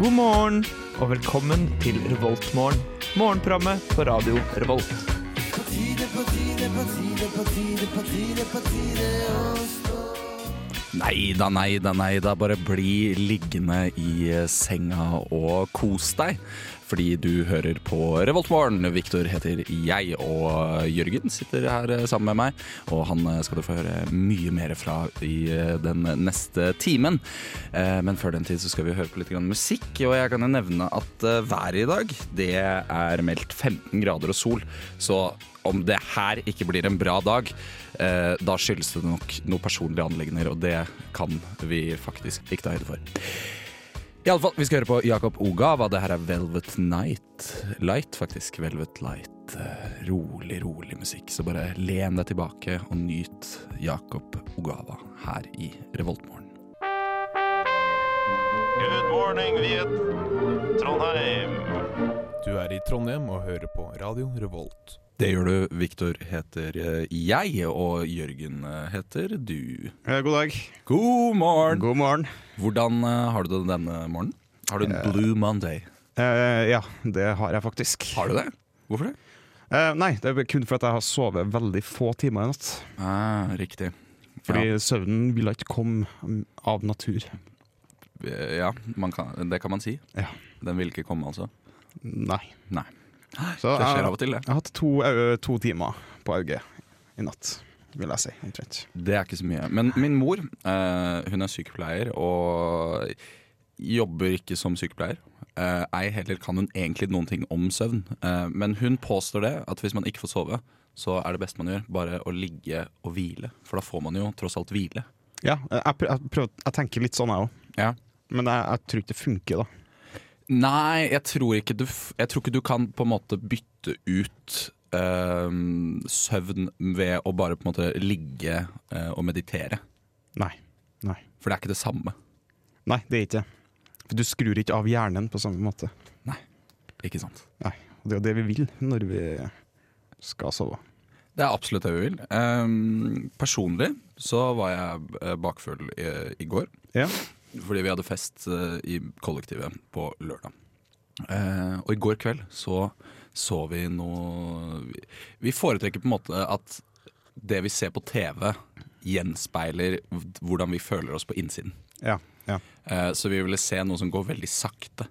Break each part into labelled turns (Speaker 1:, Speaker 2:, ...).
Speaker 1: God morgen og velkommen til Revoltmorgen. Morgenprogrammet på radio Revolt.
Speaker 2: Nei da, nei da, nei da. Bare bli liggende i eh, senga og kos deg. Fordi du hører på Revoltmorgen. Viktor heter jeg, og eh, Jørgen sitter her eh, sammen med meg. Og han eh, skal du få høre mye mer fra i eh, den neste timen. Eh, Men før den tid så skal vi høre på litt grann musikk. Og jeg kan jo nevne at eh, været i dag, det er meldt 15 grader og sol. Så om det her ikke blir en bra dag, eh, da skyldes det nok noen personlige anliggender, og det kan vi faktisk ikke ta høyde for. I alle fall, Vi skal høre på Jakob Ogava. Det her er Velvet Night. Light, faktisk. Velvet Light. Eh, Rolig, rolig musikk. Så bare len deg tilbake og nyt Jakob Ogava her i Revoltmorgen.
Speaker 3: Good morning, Viet. Trondheim.
Speaker 4: Du er i Trondheim og hører på Radio Revolt.
Speaker 2: Det gjør du. Viktor heter eh, jeg, og Jørgen eh, heter du.
Speaker 5: Eh, God dag.
Speaker 2: God morgen!
Speaker 5: God morgen.
Speaker 2: Hvordan eh, har du det denne morgenen? Har du en blue Monday?
Speaker 5: Eh, ja, det har jeg faktisk.
Speaker 2: Har du det? Hvorfor det?
Speaker 5: Eh, nei, det er kun fordi jeg har sovet veldig få timer i natt.
Speaker 2: Ah, riktig.
Speaker 5: Fordi
Speaker 2: Fordi
Speaker 5: søvnen ville ikke komme mm, av natur.
Speaker 2: ja, Eh, ja man kan, det kan man si.
Speaker 5: Ja.
Speaker 2: Den vil ikke komme, altså.
Speaker 5: Nei.
Speaker 2: Nei.
Speaker 5: Så
Speaker 2: Det skjer av
Speaker 5: jeg,
Speaker 2: og til, det.
Speaker 5: jeg har hatt to, ø, to timer på auget i natt, vil jeg si. Omtrent.
Speaker 2: Det er ikke så mye. Men min mor, eh, hun er sykepleier og jobber ikke som sykepleier. Eh, ei heller kan hun egentlig noen ting om søvn. Eh, men hun påstår det, at hvis man ikke får sove, så er det beste man gjør, bare å ligge og hvile. For da får man jo tross alt hvile.
Speaker 5: Ja, eh, jeg, pr- jeg, prøver, jeg tenker litt sånn, jeg òg.
Speaker 2: Ja.
Speaker 5: Men jeg, jeg tror ikke det funker, da.
Speaker 2: Nei, jeg tror ikke du, f- jeg tror ikke du kan på en måte bytte ut øhm, søvn ved å bare på en måte ligge øh, og meditere.
Speaker 5: Nei. Nei,
Speaker 2: For det er ikke det samme.
Speaker 5: Nei det er ikke det. For du skrur ikke av hjernen på samme måte.
Speaker 2: Ikke sant?
Speaker 5: Og det er jo det vi vil når vi skal sove.
Speaker 2: Det er absolutt det vi vil. Ehm, personlig så var jeg eh, bakfull i, i går.
Speaker 5: Ja.
Speaker 2: Fordi vi hadde fest eh, i kollektivet på lørdag. Eh, og i går kveld så så vi noe vi- Vi foretrekker på en måte at det vi ser på TV, gjenspeiler v- hvordan vi føler oss på innsiden.
Speaker 5: Ja, ja.
Speaker 2: Eh, så vi ville se noe som går veldig sakte.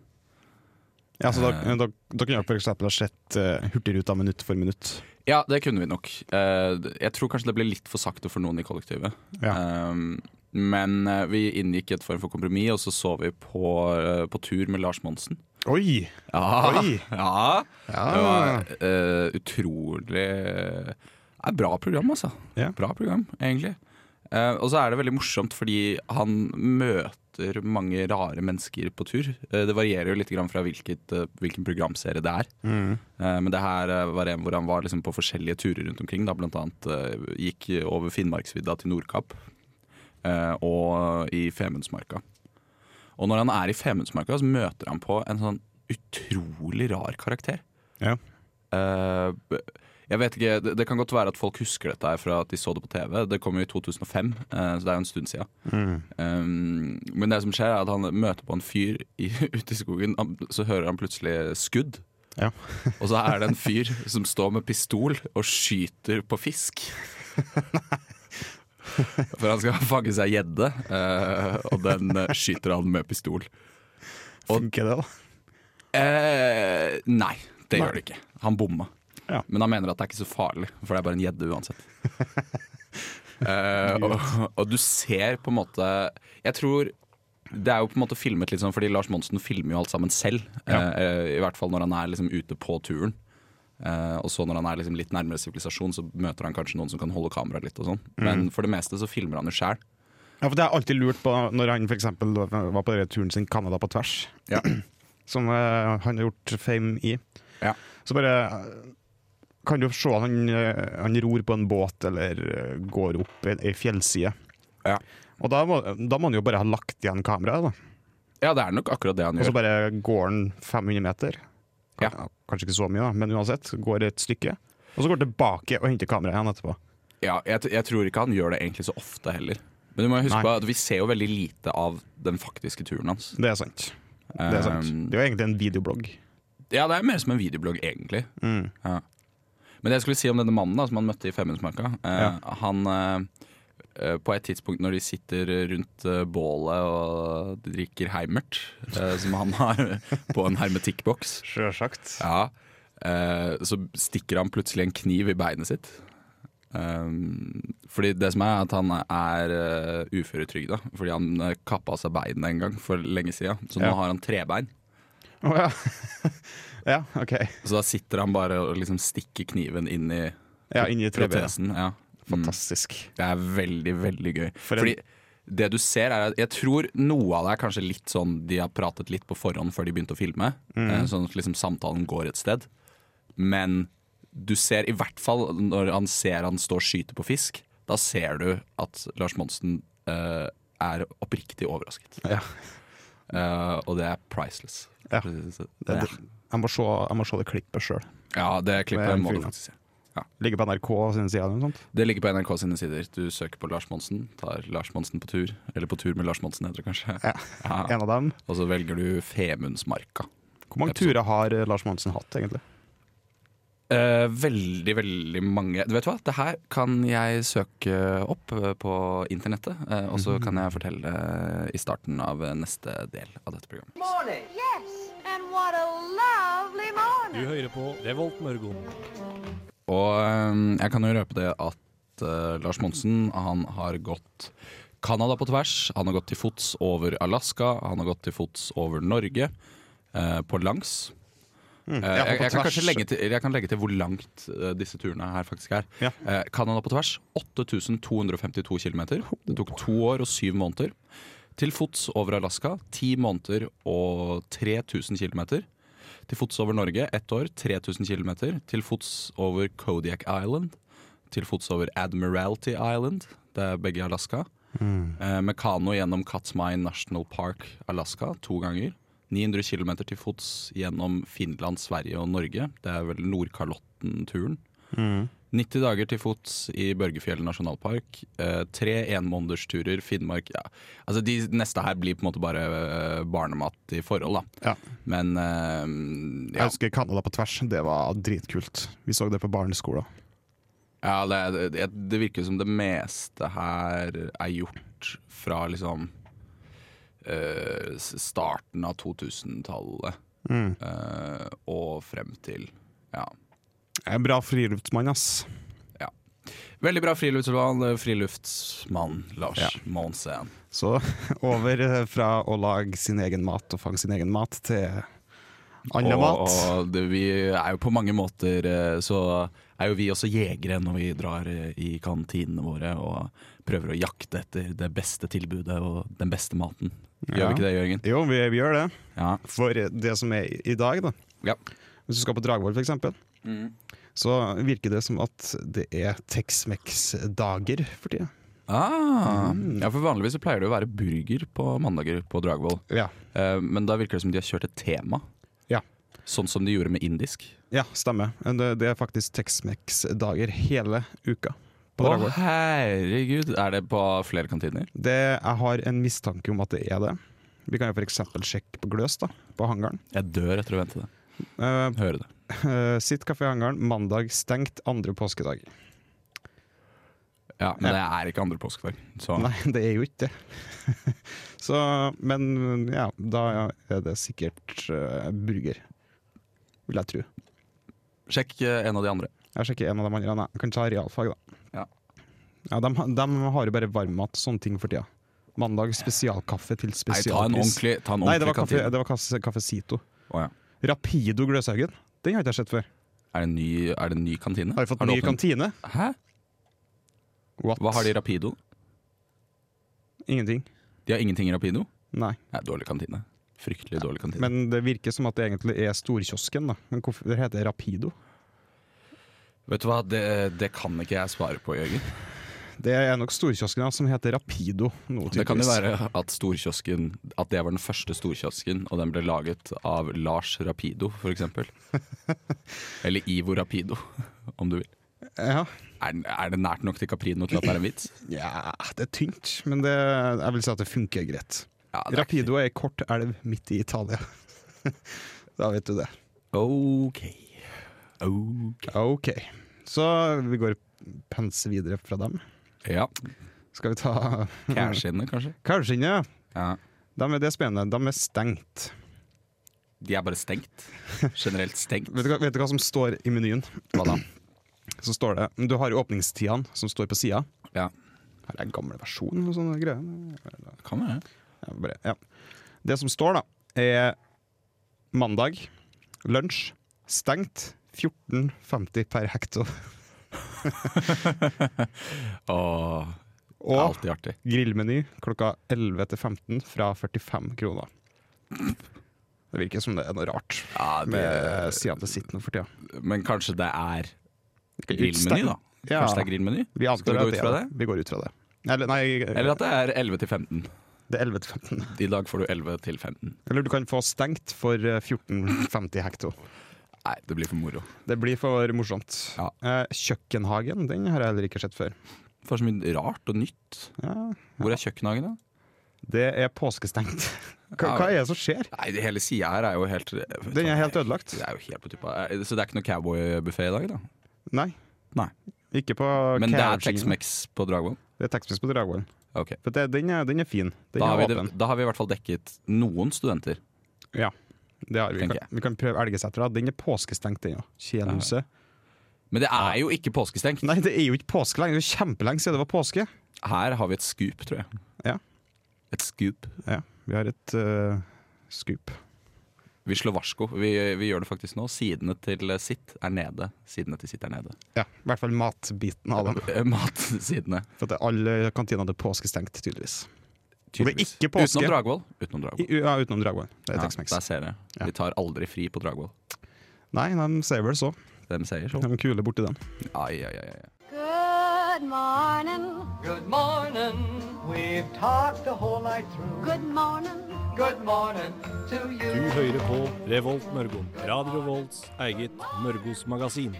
Speaker 5: Ja, så da,
Speaker 2: Eh.
Speaker 5: da, da kunne jeg for eksempel ha sett eh, Hurtigruta minutt for minutt.
Speaker 2: Ja, det kunne vi nok. Eh, jeg tror kanskje det ble litt for sakte for noen i kollektivet.
Speaker 5: Ja.
Speaker 2: Um, men eh, vi inngikk et form for kompromiss, og så så vi på, eh, på tur med Lars Monsen.
Speaker 5: Oi!
Speaker 2: Ja,
Speaker 5: Oi. Ah.
Speaker 2: ja.
Speaker 5: Ja.
Speaker 2: Det var eh, utrolig Det er bra program, altså.
Speaker 5: Ja.
Speaker 2: Bra program, egentlig. Eh, og så er det veldig morsomt fordi han møter mange rare mennesker på tur. Eh, det varierer jo litt grann fra hvilket, eh, hvilken programserie det er.
Speaker 5: Mm.
Speaker 2: Eh, Men det her eh, var en hvor han var liksom på forskjellige turer rundt omkring. Da blant annet eh, gikk over Finnmarksvidda til Nordkapp eh, og i Femundsmarka. Og når han er i Femundsmarka, så møter han på en sånn utrolig rar karakter.
Speaker 5: Ja.
Speaker 2: Eh, b- jeg vet ikke, det, det kan godt være at folk husker dette her fra at de så det på TV. Det kom jo i 2005, eh, så det er jo en stund siden.
Speaker 5: Mm.
Speaker 2: Um, men det som skjer er at han møter på en fyr i, ute i skogen, han, så hører han plutselig skudd.
Speaker 5: Ja.
Speaker 2: og så er det en fyr som står med pistol og skyter på fisk. For han skal fange seg gjedde, eh, og den eh, skyter han med pistol. Og-
Speaker 5: Funker det, da?
Speaker 2: Eh, nei, det
Speaker 5: Nei.
Speaker 2: gjør det ikke. Han bomma.
Speaker 5: Ja.
Speaker 2: Men han mener at det er ikke så farlig, for det er bare en gjedde uansett. Eh, og, og du ser på en måte Jeg tror det er jo på en måte filmet litt sånn, fordi Lars Monsen filmer jo alt sammen selv. eh, I hvert fall når han er liksom ute på turen. Eh, og så når han er liksom litt nærmere sivilisasjon, så møter han kanskje noen som kan holde kameraet litt. og sånn
Speaker 5: Mm.
Speaker 2: Men for det meste så filmer han jo sjæl.
Speaker 5: Ja, for Det har jeg alltid lurt på når han for eksempel var på denne turen sin Canada på tvers,
Speaker 2: Ja.
Speaker 5: som eh, han har gjort fame i.
Speaker 2: Ja.
Speaker 5: Så bare eh, kan du se at han, eh, han ror på en båt eller eh, går opp ei ei fjellside.
Speaker 2: Ja.
Speaker 5: Og da må, da må han jo bare ha lagt igjen kameraet, da.
Speaker 2: ja, det er nok akkurat det han
Speaker 5: Og så
Speaker 2: gjør.
Speaker 5: bare går han 500 meter.
Speaker 2: Ja.
Speaker 5: Kan- Kanskje ikke så mye, da, men uansett. Går et stykke. Og så går han tilbake og henter kameraet igjen etterpå.
Speaker 2: Ja, jeg, t- jeg tror ikke han gjør det egentlig så ofte heller. Men du må jo huske
Speaker 5: Nei.
Speaker 2: på at vi ser jo veldig lite av den faktiske turen hans.
Speaker 5: Det er sant. Det er sant.
Speaker 2: Um,
Speaker 5: Det er jo egentlig en videoblogg.
Speaker 2: Ja, det er mer som en videoblogg, egentlig.
Speaker 5: Mm.
Speaker 2: Ja. Men det jeg skulle si om denne mannen da, som han møtte i Femundsmarka eh,
Speaker 5: Ja.
Speaker 2: Han eh, eh, På et tidspunkt når de sitter rundt eh, bålet og de drikker heimert, eh, som han har på en hermetikkboks,
Speaker 5: Sjølsagt.
Speaker 2: ja, eh, så stikker han plutselig en kniv i beinet sitt. Um, fordi det som er at han er uh, uføretrygda fordi han eh, kappa av seg beinet en gang for lenge sida. Så nå
Speaker 5: Ja.
Speaker 2: har han trebein.
Speaker 5: Å ja. ja, OK.
Speaker 2: Så da sitter han bare og liksom stikker kniven inn i
Speaker 5: Ja, inni trebenet.
Speaker 2: protesen. Ja. Mm.
Speaker 5: Fantastisk.
Speaker 2: Det er veldig, veldig gøy.
Speaker 5: For en-
Speaker 2: Fordi det du ser er at Jeg tror noe av det er kanskje litt sånn de har pratet litt på forhånd før de begynte å filme.
Speaker 5: Mm.
Speaker 2: eh, Sånn at liksom samtalen går et sted. Men du ser, i hvert fall når han ser han står og skyter på fisk, da ser du at Lars Monsen eh, er oppriktig overrasket.
Speaker 5: Ja.
Speaker 2: Eh, og det er priceless.
Speaker 5: Ja.
Speaker 2: Det
Speaker 5: Det,
Speaker 2: er,
Speaker 5: det, jeg, må se, jeg må se det klippet sjøl.
Speaker 2: ja, det
Speaker 5: Det er
Speaker 2: klippet
Speaker 5: en
Speaker 2: må du
Speaker 5: fyr, da.
Speaker 2: faktisk se.
Speaker 5: Ligger på NRK sine sider eller noe sånt.
Speaker 2: Det ligger på NRK sine sider. Du søker på Lars Monsen, tar Lars Monsen på tur. Eller på tur med Lars Monsen, heter det kanskje.
Speaker 5: Ja.
Speaker 2: Ja.
Speaker 5: En av dem.
Speaker 2: Og så velger du Femundsmarka.
Speaker 5: Hvor mange
Speaker 2: Episode.
Speaker 5: turer har eh, Lars Monsen hatt, egentlig?
Speaker 2: Eh, veldig, veldig mange Vet du hva, det her kan jeg søke opp eh, på internettet. eh, og
Speaker 5: Mhm.
Speaker 2: så kan jeg fortelle eh, i starten av eh, neste del av dette programmet.
Speaker 6: Yes, and what a lovely morning.
Speaker 7: Du hører på Revolt Mørgon.
Speaker 2: Og eh, jeg kan jo røpe det at eh, Lars Monsen han har gått Canada på tvers. Han har gått til fots over Alaska. Han har gått til fots over Norge. eh, på langs. Eh,
Speaker 5: Mm. ja,
Speaker 2: jeg,
Speaker 5: på
Speaker 2: jeg kan
Speaker 5: tvers.
Speaker 2: kanskje legge til, jeg kan legge til hvor langt eh, disse turene her faktisk er.
Speaker 5: Ja.
Speaker 2: Eh, Canada på tvers 8252 km. Det tok to år og syv måneder. Til fots over Alaska ti måneder og 3000 km. Til fots over Norge ett år, 3000 km. Til fots over Kodiak Island. Til fots over Admiralty Island, det er begge i Alaska. Eh, med kano gjennom Katmai National Park, Alaska, to ganger. 900 km til fots gjennom Finland, Sverige og Norge. Det er vel Nordkalotten-turen.
Speaker 5: Mm.
Speaker 2: 90 dager til fots i Børgefjell nasjonalpark. Eh, tre enmånedersturer, Finnmark ja. Altså De neste her blir på en måte bare eh, barnemat i forhold, da.
Speaker 5: Ja.
Speaker 2: Men eh,
Speaker 5: Jeg
Speaker 2: ja.
Speaker 5: husker Canada på tvers. Det var dritkult. Vi så det på barneskolen.
Speaker 2: ja det, er- det, det virker som det meste her er gjort fra liksom eh, s- starten av 2000-tallet
Speaker 5: Mm.
Speaker 2: eh, og frem til ja,
Speaker 5: Jeg er en bra friluftsmann, ass.
Speaker 2: Veldig bra friluftsmann, friluftsmann Lars
Speaker 5: Ja.
Speaker 2: Monsen.
Speaker 5: Så over eh, fra å lage sin egen mat og fange sin egen mat, til annen
Speaker 2: Og,
Speaker 5: mat.
Speaker 2: og det, vi er jo på mange måter eh, så er jo vi også jegere når vi drar eh, i kantinene våre og prøver å jakte etter det beste tilbudet og den beste maten. Gjør
Speaker 5: Ja.
Speaker 2: vi ikke det, Jørgen?
Speaker 5: Jo, vi, vi gjør det.
Speaker 2: Ja.
Speaker 5: For det som er i dag, da.
Speaker 2: Ja.
Speaker 5: Hvis du skal på Dragvoll, for eksempel, så virker det som at det er Tex-Mex-dager for tida.
Speaker 2: Ah,
Speaker 5: Mm.
Speaker 2: ja, for vanligvis så pleier det jo å være burger på mandager på Dragvoll.
Speaker 5: Ja.
Speaker 2: Eh, Men da virker det som de har kjørt et tema.
Speaker 5: Ja.
Speaker 2: Sånn som de gjorde med indisk.
Speaker 5: Ja, stemmer. Det, det er faktisk Tex-Mex-dager hele uka. På
Speaker 2: Å
Speaker 5: Dragvoll.
Speaker 2: herregud, er det på flere kantiner?
Speaker 5: Det, jeg har en mistanke om at det er det. Vi kan jo f.eks. sjekke på Gløs, da, på hangaren.
Speaker 2: Jeg dør etter å vente det.
Speaker 5: Eh,
Speaker 2: Høre det.
Speaker 5: eh, sitt kafé i hangaren, mandag stengt andre påskedag.
Speaker 2: Ja, Men det er ikke andre påskedag. Så
Speaker 5: Nei, det er jo ikke det. Så, men ja, da er det sikkert eh, burger, vil jeg tro.
Speaker 2: sjekk eh, en av de andre.
Speaker 5: Jeg sjekker en av de andre. Nei, jeg kan ta realfag, da.
Speaker 2: Ja.
Speaker 5: Ja, de, de har jo bare varmmat og sånne ting for tida. Mandag spesialkaffe til
Speaker 2: Nei, ta en
Speaker 5: spesialpris.
Speaker 2: ordentlig, ta en
Speaker 5: Nei, det
Speaker 2: ordentlig
Speaker 5: var, kaffe,
Speaker 2: kantine.
Speaker 5: det var kasse- Cafecito.
Speaker 2: Å, ja.
Speaker 5: Rapido Gløshaugen. Den har ikke jeg sett før.
Speaker 2: er, det en ny, er det en ny kantine?
Speaker 5: Har vi fått
Speaker 2: det
Speaker 5: ny
Speaker 2: åpnet-
Speaker 5: kantine?
Speaker 2: Hæ?
Speaker 5: What?
Speaker 2: Hva har de i Rapido?
Speaker 5: Ingenting.
Speaker 2: De har ingenting i Rapido?
Speaker 5: Nei.
Speaker 2: Nei, dårlig kantine. Fryktelig dårlig kantine.
Speaker 5: Men det virker som at det egentlig er storkiosken, da. Men hvorfor det heter Rapido?
Speaker 2: Vet du hva, det, det kan ikke jeg svare på, Jørgen.
Speaker 5: Det er nok storkiosken ja, som heter Rapido nå,
Speaker 2: Det kan jo
Speaker 5: tydeligvis.
Speaker 2: være at storkiosken At det var den første storkiosken, og den ble laget av Lars Rapido, f.eks. Eller Ivo Rapido, om du vil.
Speaker 5: Ja.
Speaker 2: Er, den- er det nært nok til Caprino til at det er en vits?
Speaker 5: ja, det er tynt, men det, jeg vil si at det funker greit.
Speaker 2: Ja, det er
Speaker 5: Rapido er ei kort elv midt i Italia. da vet du det.
Speaker 2: Ok. Ok.
Speaker 5: Ok, så vi går pense videre fra dem.
Speaker 2: Ja.
Speaker 5: Skal vi ta
Speaker 2: Cashene, kanskje?
Speaker 5: Kanskje ikke.
Speaker 2: Ja.
Speaker 5: De er det er spennende. De er stengt.
Speaker 2: De er bare stengt. Generelt stengt.
Speaker 5: Vet du, hva, vet du hva som står i menyen?
Speaker 2: Hva da?
Speaker 5: Så står det, Du har jo åpningstidene som står på sida.
Speaker 2: Ja,
Speaker 5: Her er en gammel versjon. eller sånne greier.
Speaker 2: kan være.
Speaker 5: Ja, bare, ja. Det som står, da, er mandag, lunsj, stengt 14,50 per hekto.
Speaker 2: Åh, det er
Speaker 5: Og
Speaker 2: alltid artig.
Speaker 5: grillmeny klokka 11 til 15 fra 45 kroner. Det virker som det er noe rart
Speaker 2: Ja,
Speaker 5: med sida til sitt nå for tida.
Speaker 2: Men kanskje det er grillmeny, da?
Speaker 5: Ja.
Speaker 2: Kanskje det er grillmeny?
Speaker 5: Vi
Speaker 2: Skal
Speaker 5: antar
Speaker 2: vi gå
Speaker 5: at
Speaker 2: ut
Speaker 5: det
Speaker 2: fra
Speaker 5: er
Speaker 2: det?
Speaker 5: det. Vi går ut fra det. Eller nei,
Speaker 2: Eller at det er 11 til 15.
Speaker 5: det er 11 til 15.
Speaker 2: I dag får du 11 til 15.
Speaker 5: Eller du kan få stengt for eh, 14,50 hekto.
Speaker 2: Nei, det blir for moro.
Speaker 5: Det blir for morsomt.
Speaker 2: Ja.
Speaker 5: Eh, Kjøkkenhagen, den har jeg heller ikke sett før.
Speaker 2: For så mye rart og nytt.
Speaker 5: Ja,
Speaker 2: Hvor er kjøkkenhagen, da?
Speaker 5: Det er påskestengt. Hva,
Speaker 2: Ja.
Speaker 5: hva er det som skjer?
Speaker 2: Nei, det hele sida her er jo helt
Speaker 5: Den er helt ødelagt.
Speaker 2: Det er jo helt på tuppa. Eh, Så det er ikke noe cowboybuffé i dag, da?
Speaker 5: Nei.
Speaker 2: Nei.
Speaker 5: Ikke på
Speaker 2: Men det er
Speaker 5: Carousel.
Speaker 2: Tex-Mex på Dragvoll?
Speaker 5: Det er Tex-Mex på Dragvoll.
Speaker 2: Ok.
Speaker 5: For det, den, er, den er fin. Den
Speaker 2: Da har,
Speaker 5: er
Speaker 2: vi det,
Speaker 5: åpen.
Speaker 2: da har vi i hvert fall dekket noen studenter.
Speaker 5: Ja, det har vi. Vi
Speaker 2: Tenker
Speaker 5: kan, vi kan prøve Elgesetra. Den er påskestengt, den òg. Kjedehuset.
Speaker 2: Men det er jo ikke påskestengt.
Speaker 5: Nei, det er jo ikke påske lenger. Det er kjempelenge siden det var påske.
Speaker 2: Her har vi et scoop, tror jeg.
Speaker 5: Ja.
Speaker 2: Et scoop.
Speaker 5: Ja, vi har et uh, scoop.
Speaker 2: Vi slår varsko. Vi, vi gjør det faktisk nå. Sidene til sitt er nede. Sidene til sitt er nede.
Speaker 5: Ja, I hvert fall matbiten av dem.
Speaker 2: Eh, Matsidene.
Speaker 5: For at det er alle kantinene til påskestengt, tydeligvis. Og det er
Speaker 2: tydeligvis.
Speaker 5: ikke påske.
Speaker 2: Utenom Dragvoll. Utenom Dragvoll.
Speaker 5: I, ja, utenom Dragvoll. Det er
Speaker 2: Ja,
Speaker 5: Tex-Mex.
Speaker 2: der ser jeg.
Speaker 5: Ja.
Speaker 2: Vi tar aldri fri på Dragvoll.
Speaker 5: Nei, de sier vel så.
Speaker 2: De sier så.
Speaker 5: De er kule borti den.
Speaker 2: Ai, ai, ai, ai.
Speaker 6: Good morning.
Speaker 7: Good morning. We've talked the whole night through.
Speaker 6: Good morning.
Speaker 7: Good morning to you.
Speaker 8: Du hører på Revolt Mørgo. Radio Revolts eget Mørgos magasin.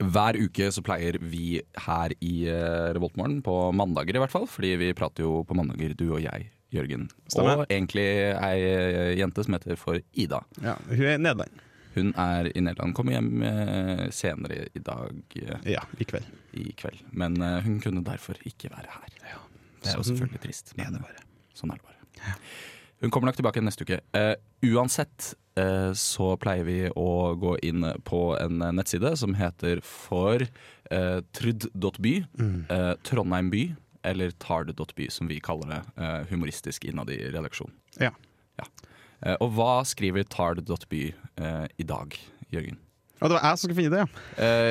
Speaker 2: Hver uke så pleier vi her i eh, Revoltmorgen, på mandager i hvert fall, fordi vi prater jo på mandager, du og jeg, Jørgen.
Speaker 5: Stemmer.
Speaker 2: Og egentlig ei eh, jente som heter for Ida.
Speaker 5: Ja, Hun er i Nederland.
Speaker 2: Hun er i Nederland, kommer hjem eh, senere i dag eh,
Speaker 5: Ja, i kveld.
Speaker 2: i kveld. Men eh, hun kunne derfor ikke være her. det er jo selvfølgelig trist. Men sånn er det bare. Hun kommer nok tilbake neste uke. Eh, uansett eh, så pleier vi å gå inn på en eh, nettside som heter for eh, trud.by, eh, Trondheim by, eller tard.by som vi kaller det eh, humoristisk innad i redaksjonen.
Speaker 5: Ja.
Speaker 2: Ja. Eh, og hva skriver tard.by eh, i dag, Jørgen?
Speaker 5: Og det var jeg som skulle finne det, ja.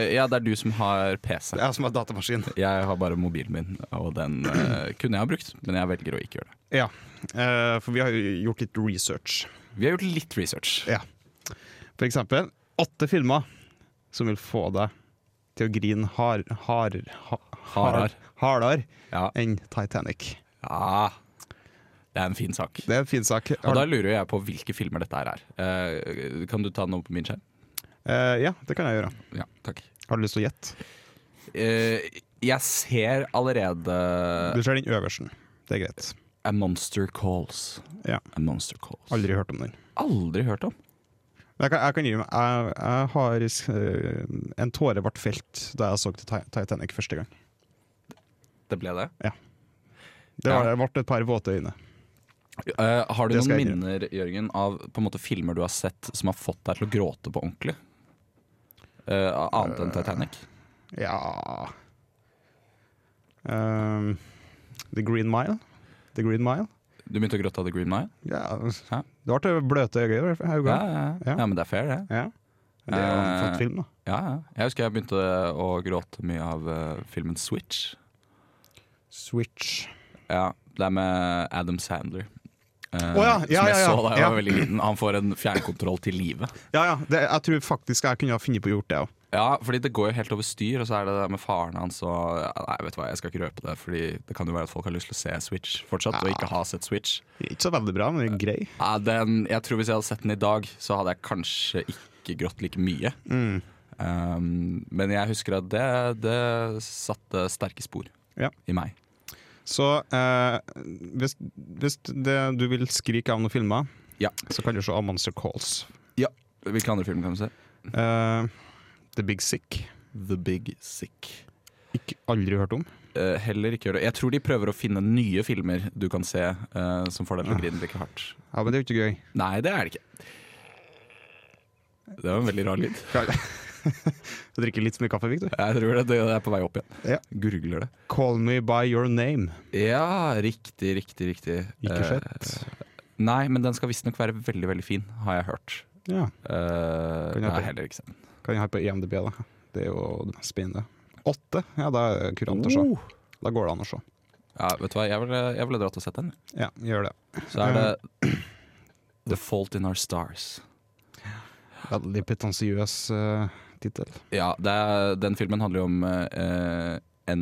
Speaker 2: Eh, ja, det er du som har PC.
Speaker 5: Det er jeg som har datamaskin.
Speaker 2: Jeg har bare mobilen min, og den eh, kunne jeg ha brukt, men jeg velger å ikke gjøre det.
Speaker 5: Ja, eh, for vi har jo gjort litt research.
Speaker 2: Vi har gjort litt research.
Speaker 5: Ja. For eksempel åtte filmer som vil få deg til å grine har, har, ha,
Speaker 2: Hardar.
Speaker 5: hardere
Speaker 2: Ja.
Speaker 5: enn Titanic.
Speaker 2: ja. Det er en fin sak.
Speaker 5: Det er en fin sak.
Speaker 2: Og da lurer jeg på hvilke filmer dette her er. Eh, kan du ta den opp på min skjerm?
Speaker 5: Eh, ja, det kan jeg gjøre.
Speaker 2: Ja, takk.
Speaker 5: Har du lyst til å gjette?
Speaker 2: Eh, jeg ser allerede
Speaker 5: Du ser den øversten. Det er greit.
Speaker 2: A Monster Calls.
Speaker 5: Ja.
Speaker 2: A Monster Calls.
Speaker 5: Aldri hørt om den.
Speaker 2: Aldri hørt om.
Speaker 5: Men Jeg kan, jeg kan gi meg. Jeg, jeg har eh, En tåre ble felt da jeg så Ti- Titanic første gang.
Speaker 2: Det ble det.
Speaker 5: Det var,
Speaker 2: Ja.
Speaker 5: det ble et par våte øyne.
Speaker 2: Eh, har du
Speaker 5: Det skal
Speaker 2: noen
Speaker 5: jeg gjøre.
Speaker 2: minner Jørgen, av på en måte, filmer du har sett som har fått deg til å gråte på ordentlig? Eh, annet enn Titanic?
Speaker 5: Ja Ehm, The Green Mile. The Green Mile.
Speaker 2: Du begynte å gråte av The Green Mile?
Speaker 5: Ja.
Speaker 2: Ja.
Speaker 5: Du har til bløte øyne.
Speaker 2: Ja, ja,
Speaker 5: Ja.
Speaker 2: ja.
Speaker 5: Ja.
Speaker 2: ja, Eh, men det er fair, det.
Speaker 5: ja. Det er jo en flott film, da.
Speaker 2: Ja, ja. Jeg husker jeg begynte å gråte mye av eh, filmen Switch.
Speaker 5: Switch.
Speaker 2: Ja, Det er med Adam Sandler. eh,
Speaker 5: ja, ja,
Speaker 2: som jeg
Speaker 5: ja, ja.
Speaker 2: så da jeg
Speaker 5: Ja.
Speaker 2: var veldig liten. Han får en fjernkontroll til livet.
Speaker 5: Ja, ja. Det, jeg tror faktisk jeg kunne ha funnet på å gjort det òg.
Speaker 2: Ja, fordi det går jo helt over styr, og så er det det med faren hans og ja, Nei, vet du hva, jeg skal ikke røpe det, Fordi det kan jo være at folk har lyst til å se Switch fortsatt, og ikke har sett Switch.
Speaker 5: Ikke så veldig bra, men det er grei.
Speaker 2: Ja, den, jeg tror Hvis jeg hadde sett den i dag, så hadde jeg kanskje ikke grått like mye. Um, men jeg husker at det, det satte sterke spor
Speaker 5: Ja.
Speaker 2: i meg.
Speaker 5: Så eh, hvis, hvis det du vil skrike av noen filmer,
Speaker 2: Ja.
Speaker 5: så kan du se av Monster Calls.
Speaker 2: Ja. Hvilke andre film kan du se?
Speaker 5: Eh, The Big Sick.
Speaker 2: The Big Sick.
Speaker 5: Ikke aldri hørt om.
Speaker 2: Eh, heller ikke gjør det. Jeg tror de prøver å finne nye filmer du kan se eh, som får deg til å grine like hardt.
Speaker 5: Ja, Men det er jo ikke gøy.
Speaker 2: Nei, det er det ikke. Det var en veldig rar lyd.
Speaker 5: Du drikker litt for mye kaffe, Victor.
Speaker 2: Jeg tror det, det er på vei opp igjen.
Speaker 5: Ja.
Speaker 2: Gurgler det.
Speaker 5: Call Me By Your Name.
Speaker 2: Ja, riktig, riktig, riktig.
Speaker 5: Ikke
Speaker 2: Eh,
Speaker 5: fett.
Speaker 2: nei, men den skal visstnok være veldig, veldig fin, har jeg hørt.
Speaker 5: Ja,
Speaker 2: Uh,
Speaker 5: Kan jeg
Speaker 2: nei,
Speaker 5: ta-
Speaker 2: heller ikke sett.
Speaker 5: Kan jeg ha på IMDb, da. Det er jo det mest spennende. Åtte? Ja, da er det kurant å se.
Speaker 2: Oh.
Speaker 5: Da går det an å se.
Speaker 2: Ja, vet du hva, jeg ville, jeg ville dratt og sett den.
Speaker 5: Ja, gjør det.
Speaker 2: Så er det The Fault in Our Stars.
Speaker 5: Veldig pretensiøs
Speaker 2: eh,
Speaker 5: uh, tittel.
Speaker 2: Ja, det er, den filmen handler jo om eh, en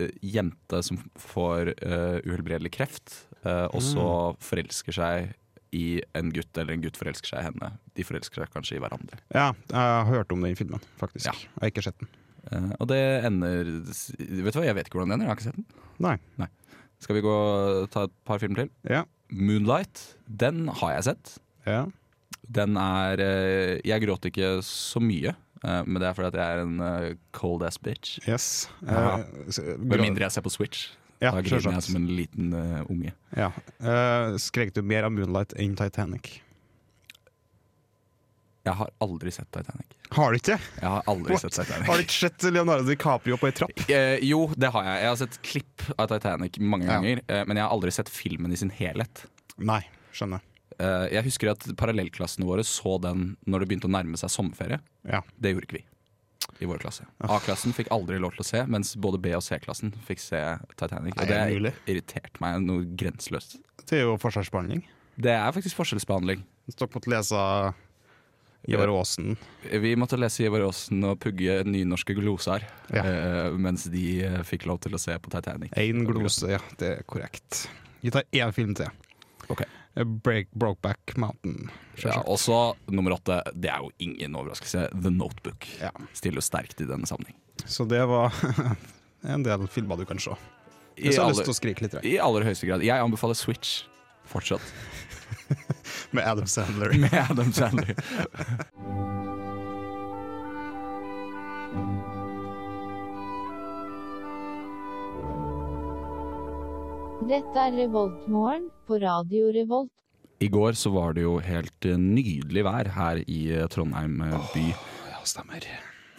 Speaker 2: eh, jente som får eh, uhelbredelig kreft, eh, og så forelsker seg i en gutt, eller en gutt forelsker seg i henne. De forelsker seg kanskje i hverandre.
Speaker 5: Ja, jeg har hørt om den filmen, faktisk.
Speaker 2: Ja.
Speaker 5: Jeg har ikke sett den.
Speaker 2: Eh, og det ender Vet du hva, jeg vet ikke hvordan det ender, jeg har ikke sett den.
Speaker 5: Nei.
Speaker 2: Skal vi gå og ta et par filmer til?
Speaker 5: Ja.
Speaker 2: 'Moonlight', den har jeg sett.
Speaker 5: ja.
Speaker 2: Den er eh, Jeg gråter ikke så mye, eh, men det er fordi at jeg er en eh, cold ass bitch.
Speaker 5: Yes. Eh,
Speaker 2: Ja.
Speaker 5: s-
Speaker 2: Med mindre jeg ser på Switch.
Speaker 5: Ja,
Speaker 2: da griner jeg
Speaker 5: selvsagt.
Speaker 2: som en liten eh, unge.
Speaker 5: Ja. Eh, skrek du mer av 'Moonlight' enn 'Titanic'?
Speaker 2: Jeg har aldri sett Titanic.
Speaker 5: Har du ikke?
Speaker 2: Jeg har aldri
Speaker 5: What?
Speaker 2: sett Titanic.
Speaker 5: Har du ikke sett Leonardo DiCaprio på ei trapp?
Speaker 2: Eh, jo, det har jeg. Jeg har sett klipp av Titanic mange
Speaker 5: Ja.
Speaker 2: ganger, eh, men jeg har aldri sett filmen i sin helhet.
Speaker 5: Nei, skjønner.
Speaker 2: Eh, jeg husker at parallellklassene våre så den når det begynte å nærme seg sommerferie.
Speaker 5: Ja.
Speaker 2: Det gjorde ikke vi i vår klasse.
Speaker 5: Ah.
Speaker 2: A-klassen fikk aldri lov til å se, mens både B- og C-klassen fikk se Titanic.
Speaker 5: Nei,
Speaker 2: Og det
Speaker 5: er det mulig?
Speaker 2: irriterte meg noe grenseløst.
Speaker 5: Det er jo forskjellsbehandling.
Speaker 2: Det er faktisk forskjellsbehandling.
Speaker 5: Stokk måtte lese Ivar Aasen.
Speaker 2: Vi måtte lese Ivar Aasen og pugge nynorske gloser,
Speaker 5: Ja.
Speaker 2: eh, mens de eh, fikk lov til å se på Titanic.
Speaker 5: Én glose, ja, det er korrekt. Vi tar én film til. Eh,
Speaker 2: Ok.
Speaker 5: Break, Brokeback Mountain.
Speaker 2: Ja, og så nummer åtte, det er jo ingen overraskelse, The Notebook.
Speaker 5: Ja.
Speaker 2: Stiller jo sterkt i denne sammenheng.
Speaker 5: Så det var en del filmer du kan se.
Speaker 2: I,
Speaker 5: Hvis du har lyst
Speaker 2: aller,
Speaker 5: til å skrike litt.
Speaker 2: I aller høyeste grad. Jeg anbefaler Switch fortsatt,
Speaker 5: Med Adam Sandler.
Speaker 2: med Adam Sandler.
Speaker 9: Dette er Revoltmorgen på Radio Revolt.
Speaker 2: I går så var det jo helt eh, nydelig vær her i eh, Trondheim eh, by.
Speaker 5: Ja, stemmer.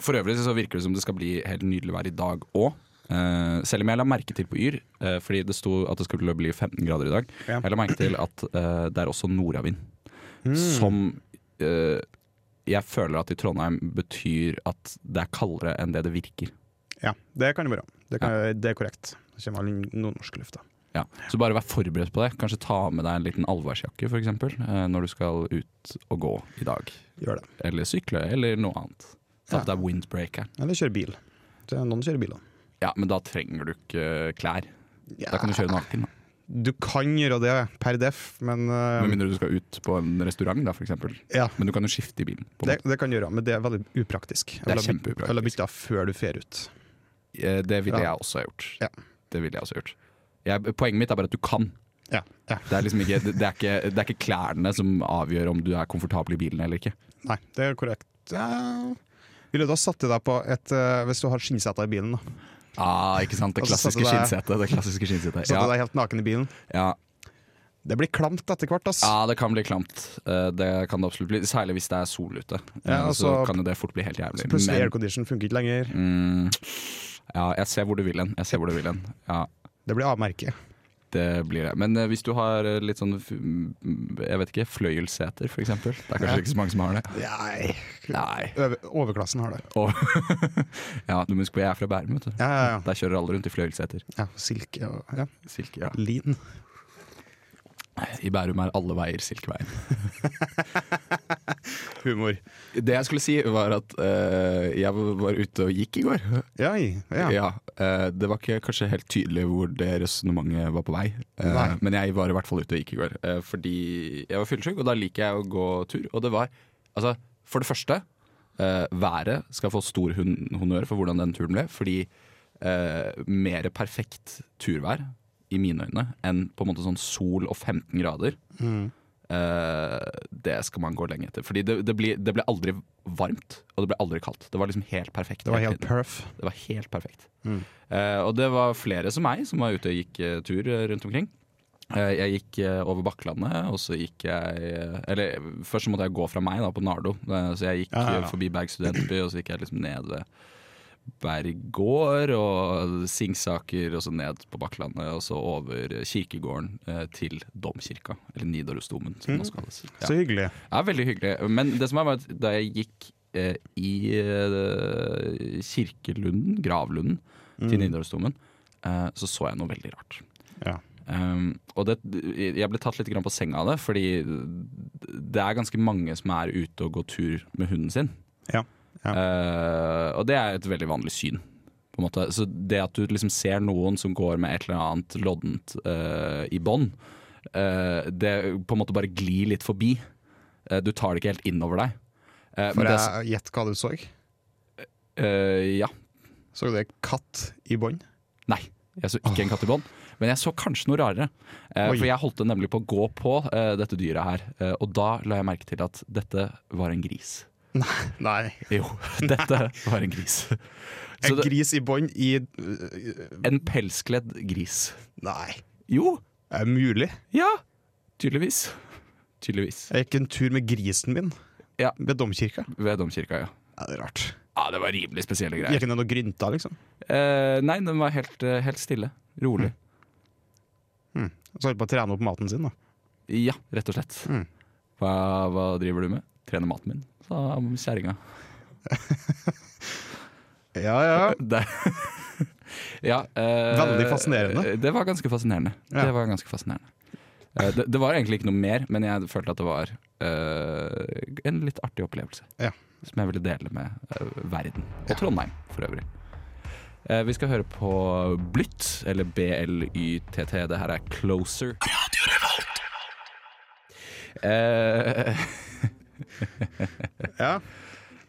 Speaker 2: For øvrig så virker det som det skal bli helt nydelig vær i dag òg. selv om jeg la merke til på Yr, eh, fordi det sto at det skulle bli 15 grader i dag,
Speaker 5: Ja.
Speaker 2: jeg la merke til at eh, det er også nordavind.
Speaker 5: Mm.
Speaker 2: Som eh, jeg føler at i Trondheim betyr at det er kaldere enn det det virker.
Speaker 5: Ja, det kan det være. Det, kan, det er korrekt. Det kommer all nordnorsk luft, da.
Speaker 2: Ja. Så bare vær forberedt på det. Kanskje ta med deg en liten allværsjakke f.eks. Uh, når du skal ut og gå i dag.
Speaker 5: Gjør det.
Speaker 2: Eller sykle, eller noe annet. Ta på
Speaker 5: Ja.
Speaker 2: deg windbreakeren.
Speaker 5: Eller kjøre bil. Det er noen kjører biler.
Speaker 2: Ja, men da trenger du ikke eh, klær.
Speaker 5: Ja.
Speaker 2: Da kan du kjøre naken. da.
Speaker 5: Du kan gjøre det per def, men eh,
Speaker 2: Med mindre du skal ut på en restaurant, da, for eksempel.
Speaker 5: ja,
Speaker 2: Men du kan jo skifte i bilen. På en
Speaker 5: det, det kan du gjøre. Men det er veldig upraktisk.
Speaker 2: Det er
Speaker 5: Eller byt-
Speaker 2: kjempeupraktisk.
Speaker 5: Eller bytte før du fer ut.
Speaker 2: måte. Eh, det ville
Speaker 5: Ja.
Speaker 2: jeg også ha gjort.
Speaker 5: Ja.
Speaker 2: Det ville jeg også gjort. Jeg, poenget mitt er bare at du kan.
Speaker 5: Ja. ja.
Speaker 2: Det er liksom ikke, det, det er ikke, det er ikke klærne som avgjør om du er komfortabel i bilen eller ikke.
Speaker 5: Nei, det er korrekt. Ja. Ville du ha satt i deg på et eh, Hvis du har skinnseter i bilen, da.
Speaker 2: Ah, ikke sant? Det
Speaker 5: Og så satte
Speaker 2: klassiske
Speaker 5: du deg-
Speaker 2: skinnsetet. Det klassiske skinnsetet.
Speaker 5: Satt du
Speaker 2: Ja,
Speaker 5: deg helt naken i bilen.
Speaker 2: ja.
Speaker 5: Det blir klamt etter hvert, ass.
Speaker 2: ja, det kan bli klamt. Eh, Det kan det absolutt bli. Særlig hvis det er sol ute.
Speaker 5: Ja,
Speaker 2: Eh, Så
Speaker 5: altså-
Speaker 2: kan jo det fort bli helt jævlig.
Speaker 5: Så plutselig
Speaker 2: Men-
Speaker 5: aircondition funker ikke lenger.
Speaker 2: Mm, ja, jeg ser hvor du vil hen. Jeg ser hvor du vil hen. Ja,
Speaker 5: Det blir A-merke.
Speaker 2: det blir det. Men eh, hvis du har eh, litt sånn f- mm, Jeg vet ikke, fløyelsseter, for eksempel. Det er kanskje ikke så mange som har det.
Speaker 5: Nei.
Speaker 2: Nei.
Speaker 5: Over, overklassen har det.
Speaker 2: Og, ja, du må huske på jeg er fra Bærum, vet du.
Speaker 5: Ja, ja, ja.
Speaker 2: Der kjører alle rundt i fløyelsseter.
Speaker 5: ja silke og ja.
Speaker 2: Silke, ja.
Speaker 5: lin.
Speaker 2: I Bærum er alle veier Silkeveien.
Speaker 5: Humor.
Speaker 2: Det jeg skulle si, var at eh, jeg var ute og gikk i går.
Speaker 5: Ja, ja.
Speaker 2: Ja, eh, Det var ikke kanskje helt tydelig hvor det resonnementet var på vei. Eh,
Speaker 5: Nei.
Speaker 2: Men jeg var i hvert fall ute og gikk i går. eh, Fordi jeg var fyllesyk, og da liker jeg å gå tur. Og det var altså, For det første, eh, været skal få stor hun- honnør for hvordan den turen ble. Fordi eh, mer perfekt turvær i mine øyne, enn på en måte sånn sol og 15 grader.
Speaker 5: Mm.
Speaker 2: Eh, det skal man gå lenge etter. Fordi det, det, ble, det ble aldri varmt, og det ble aldri kaldt. Det var liksom helt perfekt.
Speaker 5: Det var
Speaker 2: hele
Speaker 5: helt
Speaker 2: tiden.
Speaker 5: perf.
Speaker 2: Det var helt perfekt.
Speaker 5: Mm.
Speaker 2: Eh, og det var flere som meg som var ute og gikk eh, tur eh, rundt omkring. Eh, jeg gikk eh, over Bakklandet, og så gikk jeg eh, Eller først så måtte jeg gå fra meg da, på Nardo, eh, så jeg gikk
Speaker 5: Ja, ja, ja.
Speaker 2: eh, forbi Berg studentby, og så gikk jeg liksom ned ved Berg gård og Singsaker, og så ned på Bakklandet, og så over eh, kirkegården eh, til Domkirka, eller Nidarosdomen, som det også kalles. Ja.
Speaker 5: Mm. Så hyggelig.
Speaker 2: Ja, veldig hyggelig. Men det som er, var at da jeg gikk eh, i eh, kirkelunden, gravlunden,
Speaker 5: Mm.
Speaker 2: til Nidarosdomen, eh, så så jeg noe veldig rart.
Speaker 5: Ja.
Speaker 2: Um, og det, jeg ble tatt litt grann på senga av det, fordi det er ganske mange som er ute og går tur med hunden sin.
Speaker 5: Ja, ja.
Speaker 2: Eh, og det er et veldig vanlig syn. På en måte. Så det at du liksom ser noen som går med et eller annet loddent eh, i bånd, eh, det på en måte bare glir litt forbi. Eh, du tar det ikke helt innover deg. Eh, men
Speaker 5: For
Speaker 2: det, er
Speaker 5: jeg gjett hva du så.
Speaker 2: s- eh, ja.
Speaker 5: Så du en katt i bånd?
Speaker 2: Nei, jeg så ikke en katt i bånd. Men jeg så kanskje noe rarere. Eh,
Speaker 5: Oi.
Speaker 2: for jeg holdt nemlig på å gå på eh, dette dyret her. Eh, og da la jeg merke til at dette var en gris.
Speaker 5: Nei.
Speaker 2: Jo, dette var en gris. Så
Speaker 5: En
Speaker 2: det,
Speaker 5: gris i bånd i
Speaker 2: en pelskledd gris.
Speaker 5: Nei.
Speaker 2: Jo,
Speaker 5: Er det mulig?
Speaker 2: ja. Tydeligvis. Tydeligvis.
Speaker 5: Jeg gikk en tur med grisen min
Speaker 2: Ja.
Speaker 5: ved domkirka.
Speaker 2: Ved domkirka, ja.
Speaker 5: Ja, det er rart.
Speaker 2: Ja, Det var rimelig spesielle greier.
Speaker 5: Gikk den ned og grynta, liksom?
Speaker 2: Eh, nei, den var helt, eh, helt stille. Rolig.
Speaker 5: Og Så holdt på å trene opp maten sin, da.
Speaker 2: Ja, rett og slett.
Speaker 5: Mm.
Speaker 2: Hva, hva driver du med? Trener maten min, sa kjerringa.
Speaker 5: Ja, ja.
Speaker 2: Det- ja, eh,
Speaker 5: Veldig fascinerende.
Speaker 2: Det var ganske fascinerende.
Speaker 5: Ja.
Speaker 2: Det, var ganske fascinerende. Eh, det, det var egentlig ikke noe mer, men jeg følte at det var eh, en litt artig opplevelse.
Speaker 5: Ja.
Speaker 2: Som jeg ville dele med eh, verden. Og Trondheim, for øvrig. Eh, vi skal høre på Blytt, eller BLYTT. Det her er Closer. Eh,
Speaker 5: ja.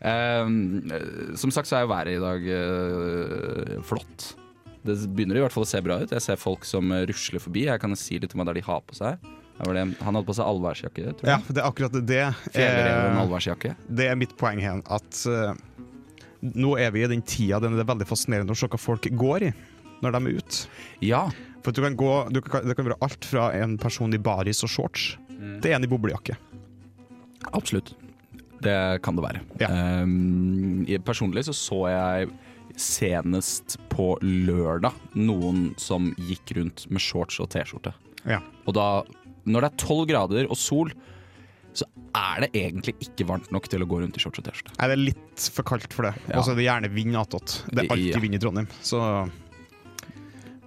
Speaker 2: Ehm, eh, som sagt så er jo været i dag eh, flott. Det begynner i hvert fall å se bra ut. Jeg ser folk som eh, rusler forbi. Jeg kan si litt om hva det er de har på seg. Det var det. Han hadde på seg allværsjakke, tror
Speaker 5: ja
Speaker 2: jeg.
Speaker 5: det er akkurat det.
Speaker 2: Fjellreven
Speaker 5: Eh,
Speaker 2: allværsjakke.
Speaker 5: det er mitt poeng her. At eh, nå er vi i den tida den det er veldig fascinerende å se hva folk går i når de er ute.
Speaker 2: Ja.
Speaker 5: For at du kan gå, du kan, Det kan være alt fra en person i baris og shorts
Speaker 2: Mm.
Speaker 5: til en i boblejakke.
Speaker 2: Absolutt. Det kan det være.
Speaker 5: Ja.
Speaker 2: Ehm, jeg- personlig så så jeg senest på lørdag noen som gikk rundt med shorts og T-skjorte.
Speaker 5: Ja.
Speaker 2: Og da, når det er tolv grader og sol, så er det egentlig ikke varmt nok til å gå rundt i shorts og T-skjorte.
Speaker 5: Nei, det er litt for kaldt for det.
Speaker 2: Ja.
Speaker 5: Og så er det gjerne vind attåt. Det er alltid
Speaker 2: Ja.
Speaker 5: vind i Trondheim. Så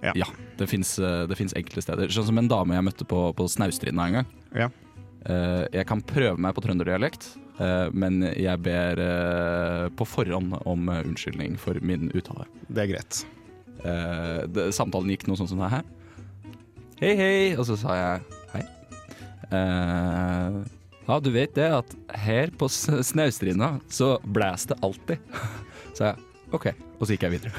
Speaker 2: Ja, det fins enkle steder. Sånn som en dame jeg møtte på, på Snaustrinda en gang.
Speaker 5: Ja.
Speaker 2: Eh, jeg kan prøve meg på trønderdialekt, eh, men jeg ber eh, på forhånd om eh, unnskyldning for min uttale.
Speaker 5: det er greit.
Speaker 2: Eh, det, samtalen gikk noe sånn som det her. Hei, hei! Og så sa jeg hei. Eh, ja, du vet det at her på S- Snaustrinda så blæs det alltid. sa jeg OK. Og så gikk jeg videre.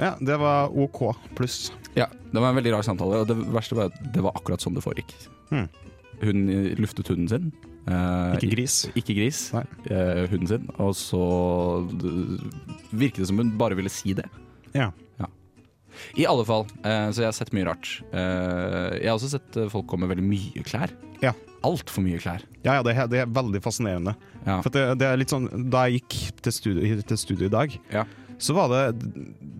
Speaker 5: Ja, det var OK pluss.
Speaker 2: Ja, det var en veldig rar samtale, og det verste var at det var akkurat sånn det foregikk.
Speaker 5: Hmm.
Speaker 2: Hun luftet hunden sin. eh,
Speaker 5: Ikke gris.
Speaker 2: Ikke gris.
Speaker 5: Nei.
Speaker 2: eh, hunden sin. Og så d- virket det som hun bare ville si det.
Speaker 5: Ja.
Speaker 2: I alle fall. eh, så jeg har sett mye rart. Eh, jeg har også sett eh, folk komme med veldig mye klær.
Speaker 5: Ja.
Speaker 2: Altfor mye klær.
Speaker 5: Ja, ja, det, er- det er veldig fascinerende.
Speaker 2: Ja.
Speaker 5: For det, det er litt sånn, Da jeg gikk til studio, til studio i dag,
Speaker 2: Ja.
Speaker 5: så var det,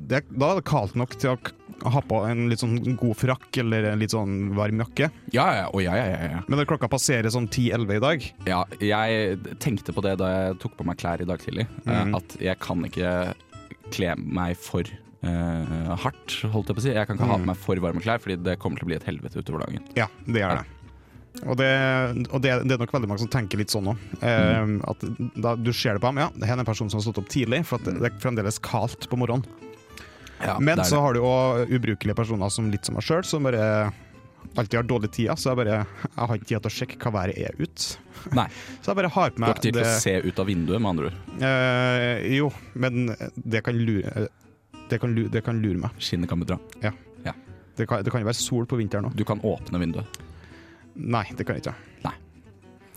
Speaker 5: det Da var det kaldt nok til å k- ha på en litt sånn god frakk eller en litt sånn varm jakke.
Speaker 2: Ja, ja, å, ja, ja, ja, ja.
Speaker 5: Men når klokka passerer sånn 10-11 i dag
Speaker 2: ja. Jeg tenkte på det da jeg tok på meg klær i dag tidlig, eh,
Speaker 5: Mhm.
Speaker 2: at jeg kan ikke kle meg for eh, hardt, holdt jeg på å si. Jeg kan ikke ha
Speaker 5: Mhm.
Speaker 2: på meg for varme klær, fordi det kommer til å bli et helvete utover dagen.
Speaker 5: Ja, det er det. Og det, og det, det er nok veldig mange som tenker litt sånn òg. Eh,
Speaker 2: Mm.
Speaker 5: at da du ser det på ham, ja, det her er en person som har stått opp tidlig, for at det, det er fremdeles kaldt på morgenen.
Speaker 2: Ja,
Speaker 5: Men
Speaker 2: det er
Speaker 5: så
Speaker 2: det.
Speaker 5: har du òg ubrukelige personer som litt som meg sjøl, som bare alltid har dårlig tid. Så jeg bare Jeg har ikke tid til å sjekke hva været er ut.
Speaker 2: Nei.
Speaker 5: Så jeg bare har på
Speaker 2: Du har
Speaker 5: meg
Speaker 2: ikke tid til
Speaker 5: det,
Speaker 2: å se ut av vinduet, med andre ord.
Speaker 5: eh, Jo, men det kan lure det kan, lure, det kan lure meg.
Speaker 2: Skinnet kan bedra.
Speaker 5: Ja.
Speaker 2: Ja.
Speaker 5: Det, kan, det kan jo være sol på vinteren òg.
Speaker 2: Du kan åpne vinduet.
Speaker 5: Nei, det kan jeg ikke.
Speaker 2: Nei.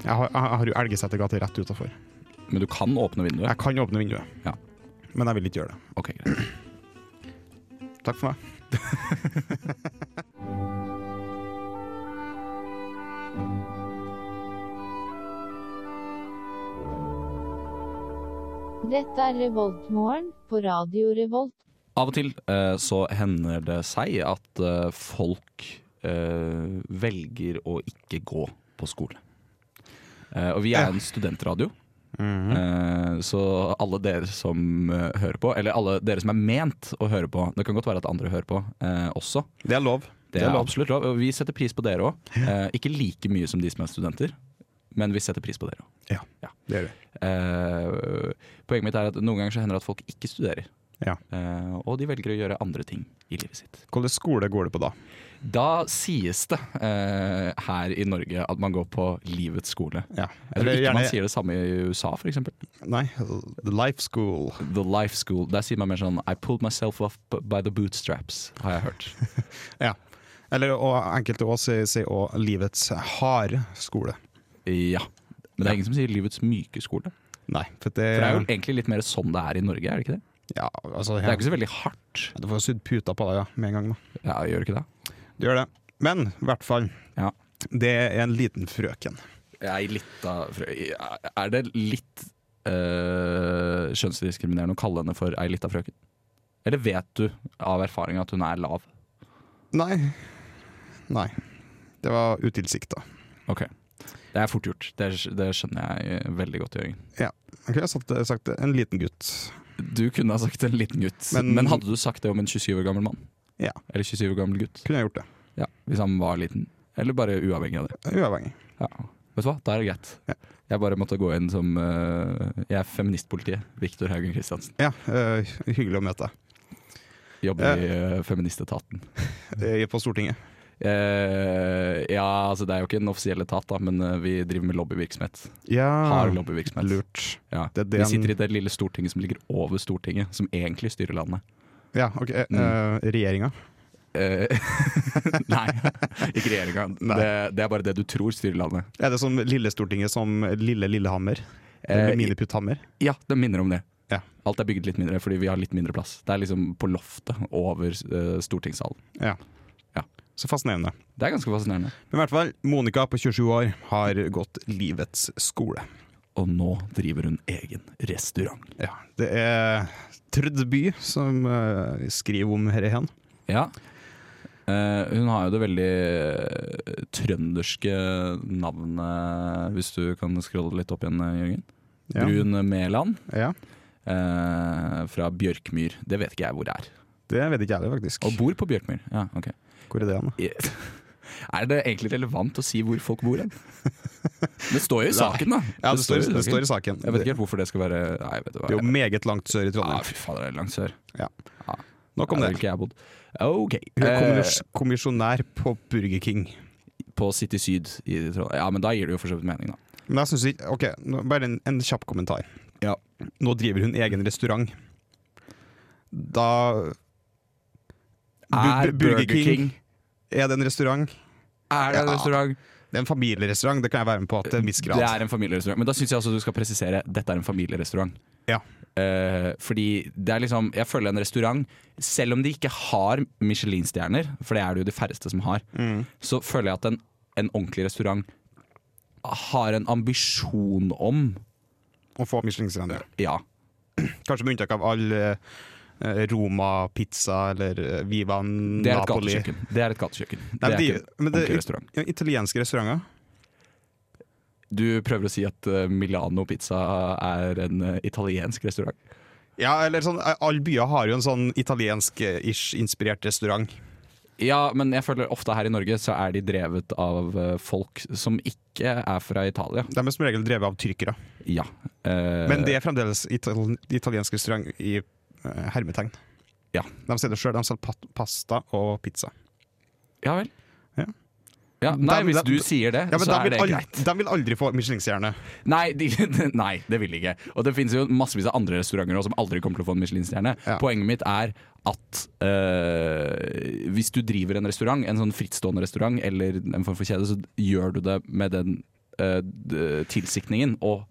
Speaker 5: Jeg har, jeg har jo Elgesetergata rett utafor.
Speaker 2: Men du kan åpne vinduet?
Speaker 5: Jeg kan åpne vinduet,
Speaker 2: Ja.
Speaker 5: men jeg vil ikke gjøre det.
Speaker 2: Ok, greit.
Speaker 5: Takk for meg.
Speaker 9: Dette er Revoltmorgen på Radio Revolt.
Speaker 2: Av og til eh, så hender det seg at eh, folk eh, velger å ikke gå på skole. Eh, og vi er en studentradio, eh, så alle dere som eh, hører på, eller alle dere som er ment å høre på Det kan godt være at andre hører på eh, også.
Speaker 5: Det er lov.
Speaker 2: Det er absolutt lov. og Vi setter pris på dere òg. Eh, ikke like mye som de som er studenter, men vi setter pris på dere òg.
Speaker 5: Ja,
Speaker 2: Ja.
Speaker 5: det gjør vi.
Speaker 2: Eh, poenget mitt er at noen ganger så hender det at folk ikke studerer.
Speaker 5: Ja.
Speaker 2: Eh, og de velger å gjøre andre ting i livet sitt.
Speaker 5: Hvilken skole går du på da?
Speaker 2: Da sies det eh, her i Norge at man går på livets skole.
Speaker 5: Ja.
Speaker 2: Jeg tror
Speaker 5: Eller
Speaker 2: ikke man
Speaker 5: gjerne
Speaker 2: sier det samme i USA, f.eks.
Speaker 5: Nei, The Life School.
Speaker 2: The life school. Der sier man mer sånn I pulled myself off by the bootstraps, har jeg hørt.
Speaker 5: Ja. Eller og enkelte òg sier sier også Livets harde skole.
Speaker 2: ja. Men det er ingen som sier livets myke skole.
Speaker 5: Nei, for det,
Speaker 2: For det er jo egentlig litt mer sånn det er i Norge, er det ikke det?
Speaker 5: Ja, altså
Speaker 2: Det er ikke så veldig hardt.
Speaker 5: Du får sydd puta på deg ja, med en gang, da.
Speaker 2: Ja, gjør det ikke det?
Speaker 5: Du gjør det. Men i hvert fall,
Speaker 2: Ja.
Speaker 5: det er en liten frøken.
Speaker 2: Jeg er litt av frø... Er det litt øh, kjønnsdiskriminerende å kalle henne for ei lita frøken? Eller vet du av erfaring at hun er lav?
Speaker 5: Nei. Nei. Det var utilsikta.
Speaker 2: Ok. Det er fort gjort. Det, det skjønner jeg eh, veldig godt, Jørgen.
Speaker 5: Jeg kunne sagt, sagt en liten gutt.
Speaker 2: Du kunne ha sagt en liten gutt, men,
Speaker 5: Men-
Speaker 2: hadde du sagt det om en 27 år gammel mann?
Speaker 5: Ja.
Speaker 2: Eller 27 år gammel gutt?
Speaker 5: Kunne jeg gjort det.
Speaker 2: Ja, Hvis han var liten? Eller bare uavhengig av det?
Speaker 5: Uavhengig.
Speaker 2: Ja. Vet du hva, da er det greit.
Speaker 5: Ja.
Speaker 2: Jeg bare måtte gå inn som øh, Jeg er feministpolitiet. Viktor Haugen Kristiansen.
Speaker 5: Ja, eh, hyggelig å møte deg
Speaker 2: Jobber i øh, feministetaten.
Speaker 5: Eh, på Stortinget.
Speaker 2: Eh, ja, altså det er jo ikke en offisiell etat, da, men eh, vi driver med lobbyvirksomhet.
Speaker 5: Ja,
Speaker 2: Har lobbyvirksomhet.
Speaker 5: Ah, lurt.
Speaker 2: Ja.
Speaker 5: Det er det
Speaker 2: vi sitter
Speaker 5: han-
Speaker 2: i det lille Stortinget som ligger over Stortinget, som egentlig styrer landet.
Speaker 5: Ja, ok. eh,
Speaker 2: Mm.
Speaker 5: eh, Regjeringa.
Speaker 2: Eh, nei, ikke regjeringa.
Speaker 5: Nei.
Speaker 2: Det, det er bare det du tror styrer landet.
Speaker 5: Er det som Lille Stortinget som Lille Lillehammer?
Speaker 2: Eh,
Speaker 5: Eller Miniputthammer?
Speaker 2: Ja, det minner om det.
Speaker 5: Ja.
Speaker 2: Alt er bygd litt mindre fordi vi har litt mindre plass. Det er liksom på loftet over eh, stortingssalen.
Speaker 5: Ja.
Speaker 2: Ja.
Speaker 5: Så fascinerende.
Speaker 2: Det er ganske fascinerende.
Speaker 5: Men i hvert fall, Monica på 27 år har gått livets skole.
Speaker 2: Og nå driver hun egen restaurant.
Speaker 5: Ja, det er Trødd by som eh, skriver om dette hen.
Speaker 2: Ja. Eh, hun har jo det veldig eh, trønderske navnet, hvis du kan scrolle litt opp igjen, eh, Jørgen.
Speaker 5: Ja.
Speaker 2: Brun Mæland
Speaker 5: Ja,
Speaker 2: eh, fra Bjørkmyr. Det vet ikke jeg hvor det er.
Speaker 5: det vet ikke jeg det, faktisk.
Speaker 2: Og bor på Bjørkmyr. Ja, ok.
Speaker 5: Hvor er det hen? da?
Speaker 2: I- Er det egentlig relevant å si hvor folk bor hen? Det står jo i saken, da.
Speaker 5: Ja, det, står, det står i saken.
Speaker 2: Jeg vet ikke helt hvorfor det skal være Nei, vet du hva.
Speaker 5: Det er jo meget langt sør i
Speaker 2: ah,
Speaker 5: Trondheim.
Speaker 2: fy fader, det er langt sør.
Speaker 5: Ja.
Speaker 2: Ja.
Speaker 5: Nok om
Speaker 2: Ja,
Speaker 5: det.
Speaker 2: ville ikke jeg bodd. Ok.
Speaker 5: Hun er
Speaker 2: eh,
Speaker 5: kommis- kommisjonær på Burger King.
Speaker 2: på City Syd i Trondheim. Ja, men da gir det jo for så vidt mening, da.
Speaker 5: Men jeg synes ikke Ok, nå- bare en, en kjapp kommentar.
Speaker 2: Ja.
Speaker 5: Nå driver hun egen restaurant. Da
Speaker 2: Er
Speaker 5: Bu- bu-
Speaker 2: Burger King,
Speaker 5: Er det en restaurant?
Speaker 2: Er det en
Speaker 5: Ja.
Speaker 2: restaurant?
Speaker 5: Det er en familierestaurant, det kan jeg være med på til en viss grad.
Speaker 2: Det er en familierestaurant. Men da syns jeg også du skal presisere dette er en familierestaurant.
Speaker 5: Ja.
Speaker 2: Eh, fordi det er liksom Jeg føler en restaurant, selv om de ikke har Michelin-stjerner, for det er det jo de færreste som har,
Speaker 5: Mm.
Speaker 2: så føler jeg at en, en ordentlig restaurant har en ambisjon om
Speaker 5: Å få Michelin-stjerner.
Speaker 2: Ja.
Speaker 5: Kanskje med unntak av all eh, Roma pizza eller eh, Viva
Speaker 2: Det er et
Speaker 5: Napoli.
Speaker 2: gatekjøkken. Det er et gatekjøkken. Det
Speaker 5: Nei,
Speaker 2: er
Speaker 5: de-
Speaker 2: ikke en
Speaker 5: men det-
Speaker 2: ordentlig restaurant.
Speaker 5: Ja, italienske restauranter.
Speaker 2: Du prøver å si at eh, Milano pizza er en eh, italiensk restaurant?
Speaker 5: Ja, eller sånn, eh, Alle byer har jo en sånn italiensk-ish-inspirert restaurant.
Speaker 2: Ja, men jeg føler ofte her i Norge så er de drevet av eh, folk som ikke er fra Italia.
Speaker 5: De er som regel drevet av tyrkere.
Speaker 2: Ja. eh,
Speaker 5: Men det er fremdeles ital italiensk restaurant i eh, hermetegn.
Speaker 2: Ja.
Speaker 5: De sier det sjøl, de selger pat- pasta og pizza.
Speaker 2: ja Eh, vel.
Speaker 5: Ja.
Speaker 2: Ja, nei,
Speaker 5: Dem-
Speaker 2: hvis du sier det,
Speaker 5: Ja, men
Speaker 2: så
Speaker 5: de
Speaker 2: er
Speaker 5: vil
Speaker 2: det
Speaker 5: aldri,
Speaker 2: greit.
Speaker 5: De vil aldri få Michelin-stjerne.
Speaker 2: Nei, de, nei, det vil de ikke. Og det finnes jo massevis av andre restauranter også, som aldri kommer til å få en Michelin-stjerne.
Speaker 5: Ja.
Speaker 2: Poenget mitt er at eh, hvis du driver en restaurant, en sånn frittstående restaurant eller en form for kjede, så gjør du det med den eh, d- tilsikningen å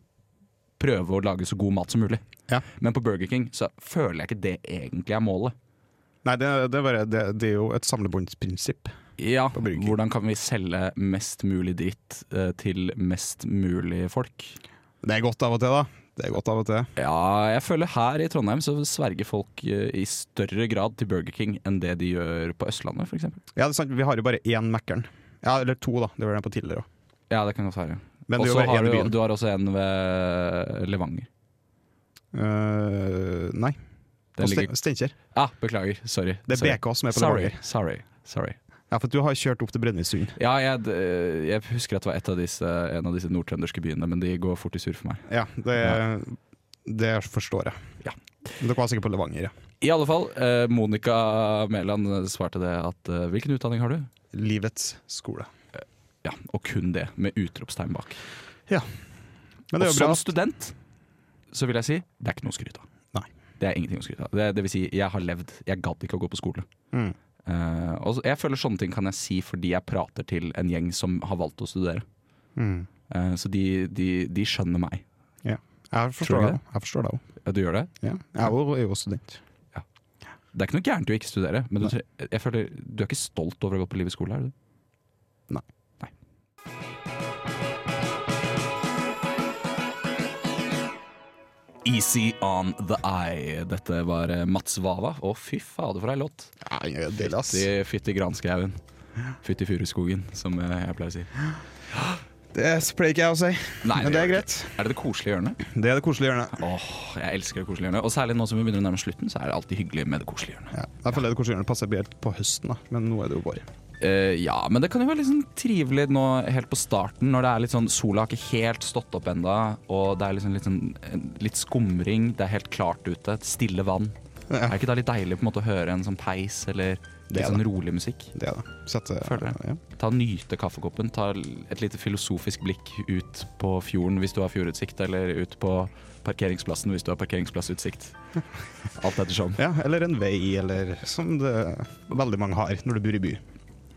Speaker 2: prøve å lage så god mat som mulig.
Speaker 5: Ja.
Speaker 2: Men på Burger King så føler jeg ikke det egentlig er målet.
Speaker 5: Nei, det, det, er bare, det, det er jo et samlebåndsprinsipp.
Speaker 2: Ja,
Speaker 5: Burger King.
Speaker 2: Hvordan kan vi selge mest mulig dritt eh, til mest mulig folk?
Speaker 5: Det er godt av og til, da. Det er godt av og til.
Speaker 2: Ja, jeg føler her i Trondheim så sverger folk eh, i større grad til Burger King enn det de gjør på Østlandet, f.eks.
Speaker 5: Ja, det er sant, Vi har jo bare én Mækkern. Ja, eller to, da. Det var den på tidligere òg.
Speaker 2: Ja, det kan godt være.
Speaker 5: Men
Speaker 2: Og
Speaker 5: det er
Speaker 2: så
Speaker 5: jo bare
Speaker 2: har
Speaker 5: én i
Speaker 2: du,
Speaker 5: byen.
Speaker 2: du har også en ved Levanger.
Speaker 5: Eh, nei, på
Speaker 2: Den
Speaker 5: Ste-
Speaker 2: ligger
Speaker 5: Steinkjer.
Speaker 2: Ja, Ah, beklager. Sorry.
Speaker 5: Det er
Speaker 2: sorry.
Speaker 5: BK som er på
Speaker 2: Sorry.
Speaker 5: Levanger.
Speaker 2: Sorry. sorry.
Speaker 5: Ja, for du har kjørt opp til Brønnøysund.
Speaker 2: Ja, jeg, d- eh, jeg husker at det var et av disse, en av disse nordtrønderske byene, men de går fort i surr for meg.
Speaker 5: Ja, det, det forstår jeg.
Speaker 2: Ja.
Speaker 5: Dere var sikkert på Levanger, ja.
Speaker 2: I alle fall, eh, Monica Mæland svarte det at eh, Hvilken utdanning har du?
Speaker 5: Livets skole.
Speaker 2: Ja, og kun det, med utropstegn bak.
Speaker 5: Men det er
Speaker 2: og
Speaker 5: jo bra.
Speaker 2: som student så vil jeg si det er ikke noe å skryte av.
Speaker 5: Nei.
Speaker 2: Det er ingenting å skryte av. Det, det vil si, jeg har levd. Jeg gadd ikke å gå på skole.
Speaker 5: Mm.
Speaker 2: Eh, og så- jeg føler sånne ting kan jeg si fordi jeg prater til en gjeng som har valgt å studere.
Speaker 5: Mm.
Speaker 2: Eh, så de, de, de skjønner meg.
Speaker 5: Jeg
Speaker 2: Tror
Speaker 5: forstår
Speaker 2: du
Speaker 5: det
Speaker 2: ikke
Speaker 5: også. Jeg forstår det òg.
Speaker 2: Ja, Du gjør det?
Speaker 5: Ja. Jeg er jo- er jo student.
Speaker 2: Det er ikke noe gærent i å ikke studere, men du, tre- jeg føler, du er ikke stolt over å ha gått på livets skole, er du?
Speaker 5: Nei.
Speaker 2: Nei. Easy on the eye. Dette var eh, Mats Wawa. Å, fy fader, for ei låt!
Speaker 5: Ja, det er deilig, ass.
Speaker 2: Fytti- Fytti granskauen. Fytti furuskogen, som eh, jeg pleier å si.
Speaker 5: Det pleier ikke jeg å si,
Speaker 2: Nei,
Speaker 5: men det er
Speaker 2: gjør
Speaker 5: greit.
Speaker 2: jeg ikke. Er det det koselige hjørnet?
Speaker 5: Det er det koselige hjørnet.
Speaker 2: Åh, jeg elsker det koselige hjørnet. Og særlig nå som vi begynner å nærme slutten, så er det alltid hyggelig med det koselige hjørnet.
Speaker 5: Ja. Jeg føler det koselige hjørnet passer bedre på høsten, da. men nå er det jo vår.
Speaker 2: Eh, ja, men det kan jo være litt sånn trivelig nå helt på starten, når det er litt sånn sola har ikke helt stått opp enda, og det er liksom litt, sånn, en- litt skumring, det er helt klart ute, et stille vann.
Speaker 5: Ja.
Speaker 2: Er ikke det litt deilig på en måte å høre en sånn peis eller litt
Speaker 5: Det er
Speaker 2: sånn
Speaker 5: det.
Speaker 2: rolig musikk?
Speaker 5: Det er det. Sette,
Speaker 2: Føler
Speaker 5: ja.
Speaker 2: Ta Nyte kaffekoppen, ta et lite filosofisk blikk ut på fjorden hvis du har fjordutsikt, eller ut på parkeringsplassen hvis du har parkeringsplassutsikt. Alt ettersom.
Speaker 5: ja, eller en vei, eller som det veldig mange har når du bor i by.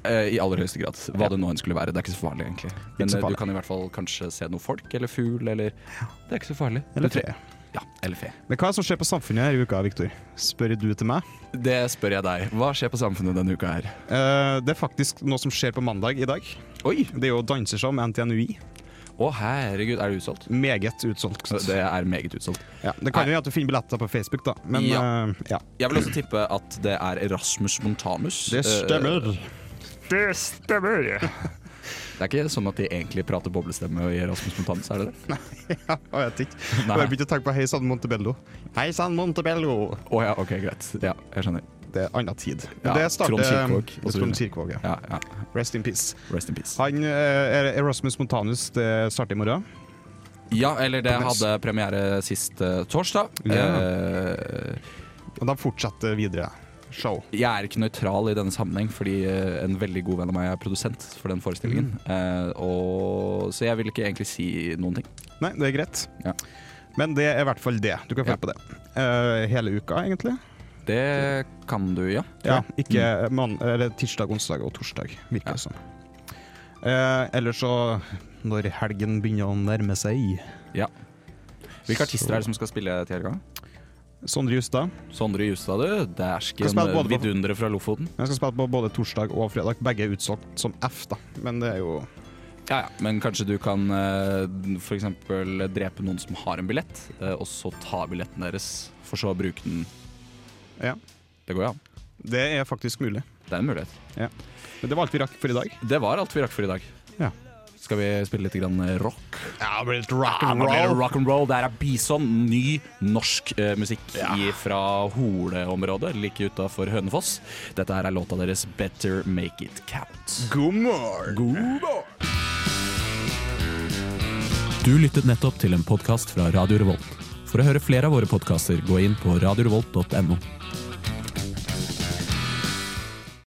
Speaker 2: Eh, I aller høyeste grad. Hva det nå enn skulle være. Det er ikke så farlig, egentlig. Men
Speaker 5: Ikke så
Speaker 2: eh,
Speaker 5: farlig.
Speaker 2: du kan i hvert fall kanskje se noe folk eller fugl eller Det er ikke så farlig.
Speaker 5: Eller
Speaker 2: Du tre-
Speaker 5: tre.
Speaker 2: Ja, eller fe.
Speaker 5: Men hva er det som skjer på samfunnet her i uka, Viktor? Spør du til meg.
Speaker 2: Det spør jeg deg. Hva skjer på samfunnet denne uka her?
Speaker 5: Eh, det er faktisk noe som skjer på mandag i dag.
Speaker 2: Oi!
Speaker 5: Det er jo danseshow med NTNUI.
Speaker 2: Å herregud, er det utsolgt?
Speaker 5: Meget utsolgt.
Speaker 2: Det er meget utsolgt.
Speaker 5: Ja, det kan jo være at du finner billetter på Facebook, da. Men
Speaker 2: Ja.
Speaker 5: eh, ja.
Speaker 2: Jeg vil også tippe at det er Erasmus Montanus.
Speaker 5: Det
Speaker 2: Eh,
Speaker 5: stemmer.
Speaker 2: Det er ikke sånn at de egentlig prater boblestemme i Erasmus Montanus, er det det?
Speaker 5: Ja, jeg vet ikke. Jeg
Speaker 2: Nei.
Speaker 5: bare begynte å tenke på Hei sann, Montebello. Hei sann, Montebello!
Speaker 2: Å ja, ok, greit. Ja, jeg skjønner.
Speaker 5: Det er annen tid.
Speaker 2: Ja,
Speaker 5: det starter
Speaker 2: Trond Kirkvaag, og så
Speaker 5: Trond
Speaker 2: videre.
Speaker 5: Kirkvaag, ja.
Speaker 2: Ja, ja.
Speaker 5: Rest in peace.
Speaker 2: Rest in peace.
Speaker 5: Han, eh, Erasmus Montanus det starter i morgen.
Speaker 2: Ja, eller det
Speaker 5: Yes.
Speaker 2: hadde premiere sist eh, torsdag.
Speaker 5: Ja.
Speaker 2: Eh,
Speaker 5: Og de fortsetter videre. Show.
Speaker 2: jeg er ikke nøytral i denne sammenheng, fordi eh, en veldig god venn av meg er produsent for den forestillingen.
Speaker 5: Mm.
Speaker 2: Eh, og, så jeg vil ikke egentlig si noen ting.
Speaker 5: Nei, det er greit.
Speaker 2: Ja.
Speaker 5: Men det er i hvert fall det. Du kan
Speaker 2: Ja.
Speaker 5: følge på det. Eh, hele uka, egentlig.
Speaker 2: Det kan du, ja.
Speaker 5: Ja, ikke
Speaker 2: Mm.
Speaker 5: mann- eller tirsdag, onsdag og torsdag, virker det som. Eh, eller så når helgen begynner å nærme seg.
Speaker 2: Hvilke artister er det som skal spille til helga?
Speaker 5: Sondre Justad.
Speaker 2: Sondre Justad, du.
Speaker 5: Skal
Speaker 2: Dæsken
Speaker 5: spille både på-
Speaker 2: vidunderet eh, fra Lofoten.
Speaker 5: Jeg skal spille på både torsdag og fredag. Begge er utsolgt som F, da. Men det er jo
Speaker 2: Ja, ja. Men kanskje du kan eh, for f.eks. drepe noen som har en billett, eh, og så ta billetten deres, for så å bruke den.
Speaker 5: Ja.
Speaker 2: Det går jo an.
Speaker 5: Det er faktisk mulig.
Speaker 2: Det er en mulighet.
Speaker 5: Men det var alt vi rakk for i dag.
Speaker 2: Det var alt vi rakk for i dag.
Speaker 5: Ja.
Speaker 2: Skal vi spille litt grann rock?
Speaker 5: Ja, Ah, det blir litt
Speaker 2: Ja, nå blir det rock and roll. Der er Bison. Ny norsk eh, musikk i, fra Hole-området, like utafor Hønefoss. Dette her er låta deres 'Better Make It Count'.
Speaker 5: God morgen!
Speaker 10: Du lyttet nettopp til en podkast fra Radio Revolt. For å høre flere av våre podkaster, gå inn på radiorevolt.no.